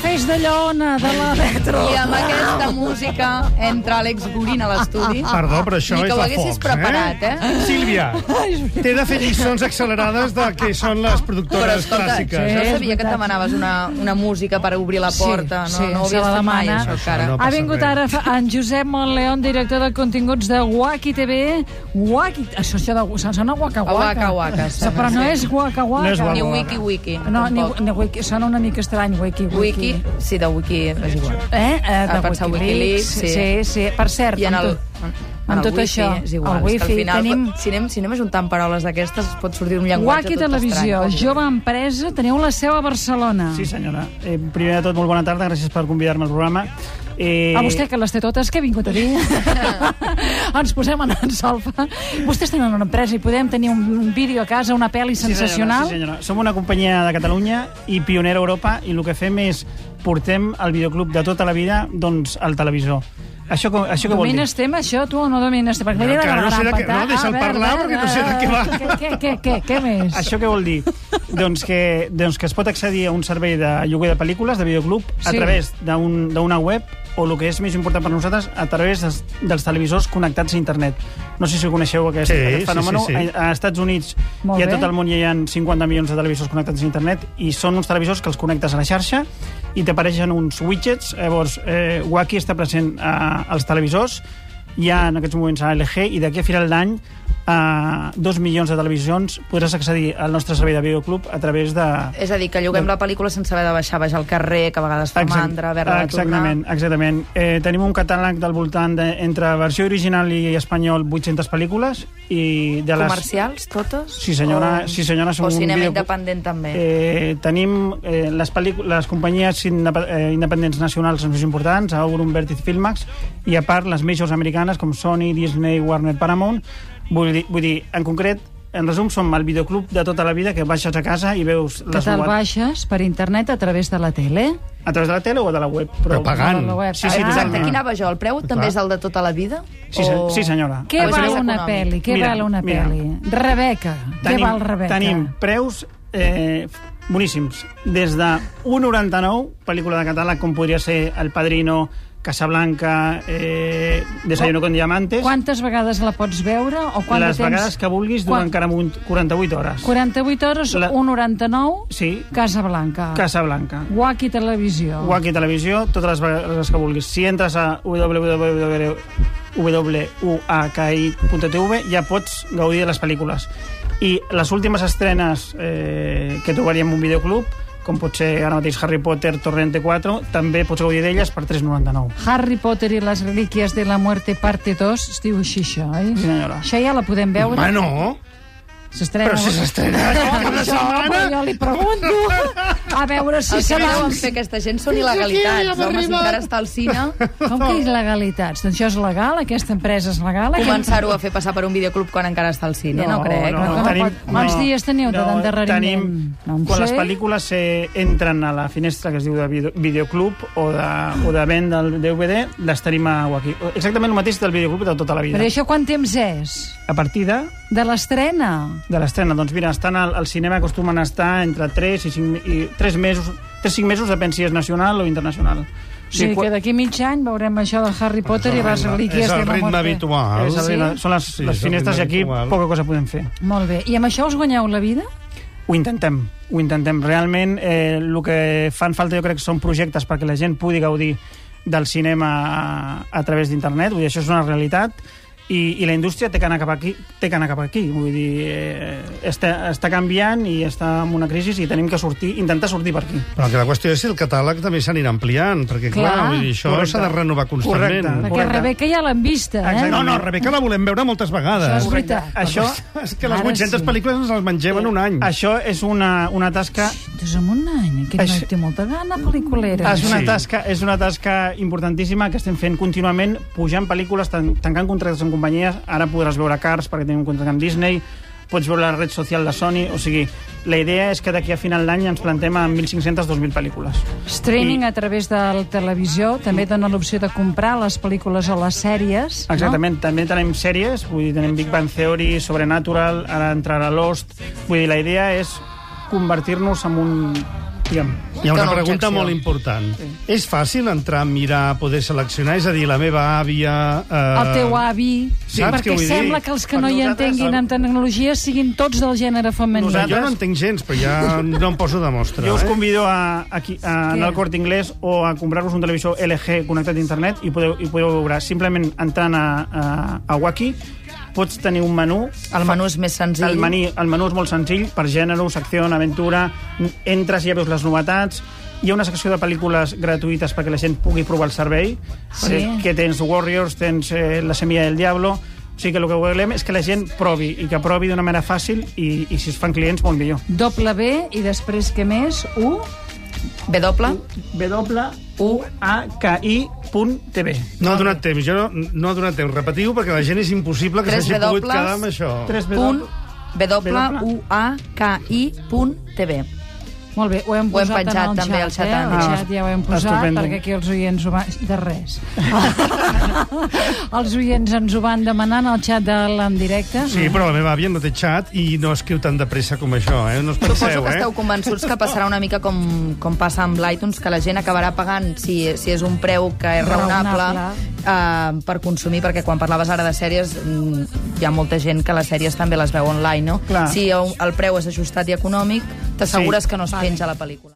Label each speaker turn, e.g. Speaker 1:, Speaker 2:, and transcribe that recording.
Speaker 1: feix de lleona, de la retro.
Speaker 2: I amb aquesta música entra Àlex Gurin a l'estudi.
Speaker 1: Ah,
Speaker 3: Perdó, però això
Speaker 2: Ni
Speaker 3: és
Speaker 2: que ho
Speaker 3: la
Speaker 2: haguessis
Speaker 3: Fox,
Speaker 2: preparat, eh?
Speaker 3: Sílvia, t'he de fer lliçons accelerades del que són les
Speaker 2: Però
Speaker 3: productores
Speaker 2: escolta,
Speaker 3: clàssiques. eh?
Speaker 2: jo
Speaker 1: Sí, és
Speaker 2: sabia que et
Speaker 1: veritat.
Speaker 2: demanaves una, una música per obrir la
Speaker 1: Sí,
Speaker 2: porta. No,
Speaker 1: sí,
Speaker 2: no ho
Speaker 1: se la
Speaker 2: havies fet mai,
Speaker 1: demana.
Speaker 2: això,
Speaker 3: Això
Speaker 2: cara.
Speaker 3: no.
Speaker 1: Ha
Speaker 3: passa
Speaker 1: vingut
Speaker 3: res.
Speaker 1: ara fa- en Josep Montleón, director de continguts de Wacky TV. Wacky... Això, això de... Se sona guaca guaca.
Speaker 2: Guaca guaca, sona,
Speaker 1: Però no
Speaker 2: sí.
Speaker 1: és guaca guaca.
Speaker 3: No és guaca
Speaker 2: Ni
Speaker 3: guaca.
Speaker 2: wiki wiki.
Speaker 1: No, ni,
Speaker 2: tampoc.
Speaker 1: ni wiki, sona una mica estrany, wiki, wiki.
Speaker 2: Wiki, sí, de wiki, és igual.
Speaker 1: Eh? eh
Speaker 2: Ah, pensar Wikileaks,
Speaker 1: sí.
Speaker 2: sí.
Speaker 1: sí. sí, Per cert,
Speaker 2: I en
Speaker 1: amb
Speaker 2: el,
Speaker 1: tot-
Speaker 2: en,
Speaker 1: amb
Speaker 2: en el
Speaker 1: tot
Speaker 2: wifi,
Speaker 1: això,
Speaker 2: és
Speaker 1: el
Speaker 2: igual. és que
Speaker 1: wifi,
Speaker 2: al final,
Speaker 1: tenim-
Speaker 2: si, anem, si anem ajuntant paraules d'aquestes, es pot sortir un llenguatge
Speaker 1: Guaqui
Speaker 2: tot
Speaker 1: Televisió,
Speaker 2: estrany.
Speaker 1: jove empresa, teniu la seu a Barcelona.
Speaker 4: Sí, senyora. Eh, primer de tot, molt bona tarda, gràcies per convidar-me al programa. Eh,
Speaker 1: A vostè, que les té totes, que ha vingut a dir? Ens posem en solfa. Vostès tenen una empresa i podem tenir un, un vídeo a casa, una pel·li
Speaker 4: sí, senyora,
Speaker 1: sensacional.
Speaker 4: Sí, senyora. Som una companyia de Catalunya i pionera a Europa i el que fem és portem el videoclub de tota la vida doncs, al televisor. Això, com, això què vol dir?
Speaker 1: Domines tema, això, tu, o no domines tema? Perquè
Speaker 3: No,
Speaker 1: m'he de
Speaker 3: encara no
Speaker 1: la
Speaker 3: sé de què-
Speaker 1: patata.
Speaker 3: no, deixa'l
Speaker 1: A veure,
Speaker 3: parlar,
Speaker 1: Ah, a veure,
Speaker 3: perquè no sé de què va.
Speaker 1: Què, què, què, què, què més?
Speaker 4: Això què vol dir? doncs, que, doncs que es pot accedir a un servei de lloguer de pel·lícules, de videoclub, a
Speaker 1: Sí.
Speaker 4: través d'un- d'una web o el que és més important per nosaltres, a través des, dels televisors connectats a internet. No sé si coneixeu aquest,
Speaker 3: Sí, sí,
Speaker 4: aquest fenomen.
Speaker 3: sí, sí.
Speaker 4: A, a Estats Units
Speaker 1: Molt
Speaker 4: i a
Speaker 1: bé.
Speaker 4: tot el món hi ha 50 milions de televisors connectats a internet i són uns televisors que els connectes a la xarxa i t'apareixen uns widgets. Llavors, eh, Wacky està present a, als televisors, hi ha en aquests moments a LG i d'aquí a final d'any a dos milions de televisions podràs accedir al nostre servei de videoclub a través de...
Speaker 2: És a dir, que lloguem la pel·lícula sense haver de baixar, baix al carrer, que a vegades fa
Speaker 4: Exact-
Speaker 2: Eh, mandra, haver-la de tornar...
Speaker 4: exactament, exactament. Eh, tenim un catàleg del voltant de, entre versió original i espanyol 800 pel·lícules i de les...
Speaker 2: Comercials, totes?
Speaker 4: Sí, senyora, sí, senyora, som
Speaker 2: o
Speaker 4: un
Speaker 2: cinema
Speaker 4: videoclub.
Speaker 2: independent, també.
Speaker 4: Eh, tenim eh, les, pel·lícu- les companyies indepe- eh, independents nacionals les més importants, Aurum, Vertiz, Filmax, i a part les majors americanes com Sony, Disney, Warner, Paramount. Vull dir, vull dir en concret, en resum, som el videoclub de tota la vida que baixes a casa i veus
Speaker 1: Que
Speaker 4: les
Speaker 1: te'l
Speaker 4: novetats
Speaker 1: baixes per internet a través de la tele?
Speaker 4: a través de la tele o de la web.
Speaker 3: Però pagant.
Speaker 1: la web.
Speaker 4: Ah, Sí, sí,
Speaker 2: Exacte,
Speaker 4: totalment.
Speaker 2: aquí anava jo. El preu també és el de tota la vida?
Speaker 4: Sí, se- sí, senyora.
Speaker 1: Què
Speaker 2: El
Speaker 1: val
Speaker 2: preu
Speaker 1: una
Speaker 2: econòmic.
Speaker 1: pel·li? Què
Speaker 4: Mira,
Speaker 1: val una
Speaker 4: mira.
Speaker 1: pel·li? Rebeca. què val Rebeca?
Speaker 4: Tenim preus eh, boníssims. Des de 1,99, pel·lícula de català com podria ser El Padrino, Casablanca, eh, Desayuno con Diamantes,
Speaker 1: Quantes vegades la pots veure? O quant
Speaker 4: les
Speaker 1: de temps?
Speaker 4: vegades que vulguis durant
Speaker 1: Quan-
Speaker 4: Quan... 48 hores.
Speaker 1: 48 hores,
Speaker 4: La-
Speaker 1: 1,99,
Speaker 4: Sí,
Speaker 1: Casa Blanca.
Speaker 4: Casablanca.
Speaker 1: Wacky Televisió.
Speaker 4: Wacky Televisió, totes les vegades que vulguis. Si entres a www.uaki.tv ja pots gaudir de les pel·lícules. I les últimes estrenes eh, que trobaríem en un videoclub, com pot ser ara mateix Harry Potter, Torrente 4, també pots gaudir d'elles per 3,99.
Speaker 1: Harry Potter i les relíquies de la muerte parte 2, es diu així això, oi?
Speaker 4: Sí, senyora.
Speaker 1: Això ja la podem veure?
Speaker 3: Home, no.
Speaker 1: S'estrena...
Speaker 3: Però si s'estrena aquest cap de
Speaker 1: Home,
Speaker 3: setmana...
Speaker 1: jo li pregunto a veure si
Speaker 2: El que
Speaker 1: serà...
Speaker 2: deuen fer aquesta gent són
Speaker 3: Fins aquí
Speaker 2: il·legalitats,
Speaker 3: havíem
Speaker 2: home, si
Speaker 3: arribat.
Speaker 2: encara està al cine.
Speaker 1: Com que il·legalitats? Doncs això és legal? Aquesta empresa és legal? Aquest-
Speaker 2: Començar-ho a fer passar per un videoclub quan encara està al cine, no, crec.
Speaker 1: Eh, no. Com
Speaker 4: Tenim-
Speaker 1: pot- quants dies teniu de- d'endarreriment?
Speaker 4: Tenim,
Speaker 1: No en
Speaker 4: quan
Speaker 1: sé.
Speaker 4: les pel·lícules eh, entren a la finestra que es diu de video, videoclub o de, o de venda del DVD, les tenim a aquí. Exactament el mateix del videoclub de tota la vida.
Speaker 1: Però això quant temps és?
Speaker 4: A partir de,
Speaker 1: De l'estrena?
Speaker 4: de l'estrena, doncs mira, estan al, al cinema acostumen a estar entre 3 i 5, i 3 mesos, 3 5 mesos depèn si és nacional o internacional.
Speaker 1: O sigui,
Speaker 4: quan-
Speaker 1: que d'aquí mig any veurem això de Harry Potter i les relíquies
Speaker 3: és
Speaker 1: de
Speaker 3: el
Speaker 1: la
Speaker 3: ritme
Speaker 1: muerte.
Speaker 3: habitual.
Speaker 4: Eh, és el,
Speaker 1: Sí?
Speaker 4: Són les,
Speaker 3: Sí,
Speaker 4: les
Speaker 3: és el
Speaker 4: finestres i
Speaker 3: ritme
Speaker 4: aquí
Speaker 3: habitual.
Speaker 4: poca cosa podem fer.
Speaker 1: Molt bé. I amb això us guanyeu la vida?
Speaker 4: Ho intentem, ho intentem. Realment, eh, el que fan falta jo crec que són projectes perquè la gent pugui gaudir del cinema a, a través d'internet, vull dir, això és una realitat, i, i la indústria té que anar cap aquí, té que anar cap aquí. vull dir, eh, està, està canviant i està en una crisi i tenim que sortir, intentar sortir per aquí.
Speaker 3: Però que la qüestió és si el catàleg també s'anirà ampliant, perquè, clar,
Speaker 1: Clar.
Speaker 3: vull dir, això
Speaker 4: Correcte.
Speaker 3: s'ha de renovar constantment.
Speaker 4: Correcte.
Speaker 1: Perquè
Speaker 4: Correcte.
Speaker 1: Rebeca ja l'hem vista, eh?
Speaker 4: Exacte.
Speaker 3: No, no, Rebeca la volem veure moltes
Speaker 1: Això
Speaker 3: vegades.
Speaker 1: és veritat.
Speaker 4: Això,
Speaker 3: És que les
Speaker 1: Ara
Speaker 3: 800
Speaker 1: sí.
Speaker 3: pel·lícules ens les mengem en un any.
Speaker 4: això és una, una tasca
Speaker 1: Doncs en un any, aquest
Speaker 4: Això-
Speaker 1: noi té molta gana pel·liculera.
Speaker 4: És una,
Speaker 3: Sí.
Speaker 4: tasca, és una tasca importantíssima que estem fent contínuament, pujant pel·lícules, tan, tancant contractes amb companyies. Ara podràs veure Cars, perquè tenim un contracte amb Disney, pots veure la red social de Sony, o sigui, la idea és que d'aquí a final d'any ens plantem a 1.500-2.000 pel·lícules.
Speaker 1: Streaming
Speaker 4: I-
Speaker 1: a través de la televisió també dona l'opció de comprar les pel·lícules o les sèries.
Speaker 4: Exactament, també tenim sèries, vull dir, tenim Big Bang Theory, Sobrenatural, ara entrarà Lost, vull dir, la idea és convertir-nos en un Digue'm.
Speaker 3: Hi ha
Speaker 2: Que
Speaker 3: una
Speaker 2: no,
Speaker 3: pregunta
Speaker 2: objecció.
Speaker 3: molt important. És fàcil entrar, mirar, poder seleccionar? És a dir, la meva àvia... Eh...
Speaker 1: El teu avi...
Speaker 3: saps què
Speaker 1: perquè
Speaker 3: vull dir?
Speaker 1: sembla que els que no hi
Speaker 4: Nosaltres-
Speaker 1: entenguin en tecnologia siguin tots del gènere femení.
Speaker 3: Nosaltres... Jo no entenc gens, però ja no em poso de mostra.
Speaker 4: Jo us
Speaker 3: eh?
Speaker 4: convido a, aquí, a anar al Corte Inglés o a comprar-vos un televisor LG connectat a internet i podeu, i podeu veure simplement entrant a, a, a Waki pots tenir un menú
Speaker 2: El menú és més senzill.
Speaker 4: el, mení, el menú és molt senzill, per gènere, secció, aventura, entres i ja veus les novetats, hi ha una secció de pel·lícules gratuïtes perquè la gent pugui provar el servei,
Speaker 1: Sí.
Speaker 4: Eh, que tens Warriors, tens eh, La semilla del diablo, o sigui que el que volem és que la gent provi, i que provi d'una manera fàcil, i, i si es fan clients, molt millor.
Speaker 1: Doble B i després què més? U?
Speaker 2: B doble?
Speaker 4: www.aki.tv
Speaker 3: No ha donat temps, jo no, no ha donat temps. Repetiu, perquè la gent és impossible que
Speaker 2: Tres
Speaker 3: s'hagi pogut
Speaker 2: dobles.
Speaker 3: quedar amb això.
Speaker 4: Tres W.
Speaker 2: Punt B doble
Speaker 4: doble.
Speaker 2: U A K I punt TV.
Speaker 1: Molt bé, ho hem
Speaker 2: Ho hem
Speaker 1: posat
Speaker 2: penjat
Speaker 1: en el
Speaker 2: també al
Speaker 1: xat,
Speaker 2: xat
Speaker 1: eh?
Speaker 2: anglès.
Speaker 1: Al xat ja ho hem
Speaker 4: Ah,
Speaker 1: posat
Speaker 4: estupendo.
Speaker 1: perquè aquí els oients ho van... De res. els oients ens ho van demanant al xat de l'en directe.
Speaker 3: Sí, però la meva àvia no té xat i no escriu tan de pressa com això, eh? No us
Speaker 2: Suposo
Speaker 3: penseu,
Speaker 2: que
Speaker 3: eh?
Speaker 2: esteu convençuts que passarà una mica com, com passa amb l'iTunes, que la gent acabarà pagant, si, si és un preu que és raonable, eh, per consumir, perquè quan parlaves ara de sèries, mm, hi ha molta gent que les sèries també les veu online, no?
Speaker 4: Clar.
Speaker 2: Si el el preu és ajustat i econòmic, t'assegures
Speaker 4: Sí.
Speaker 2: que no es penja la pel·lícula.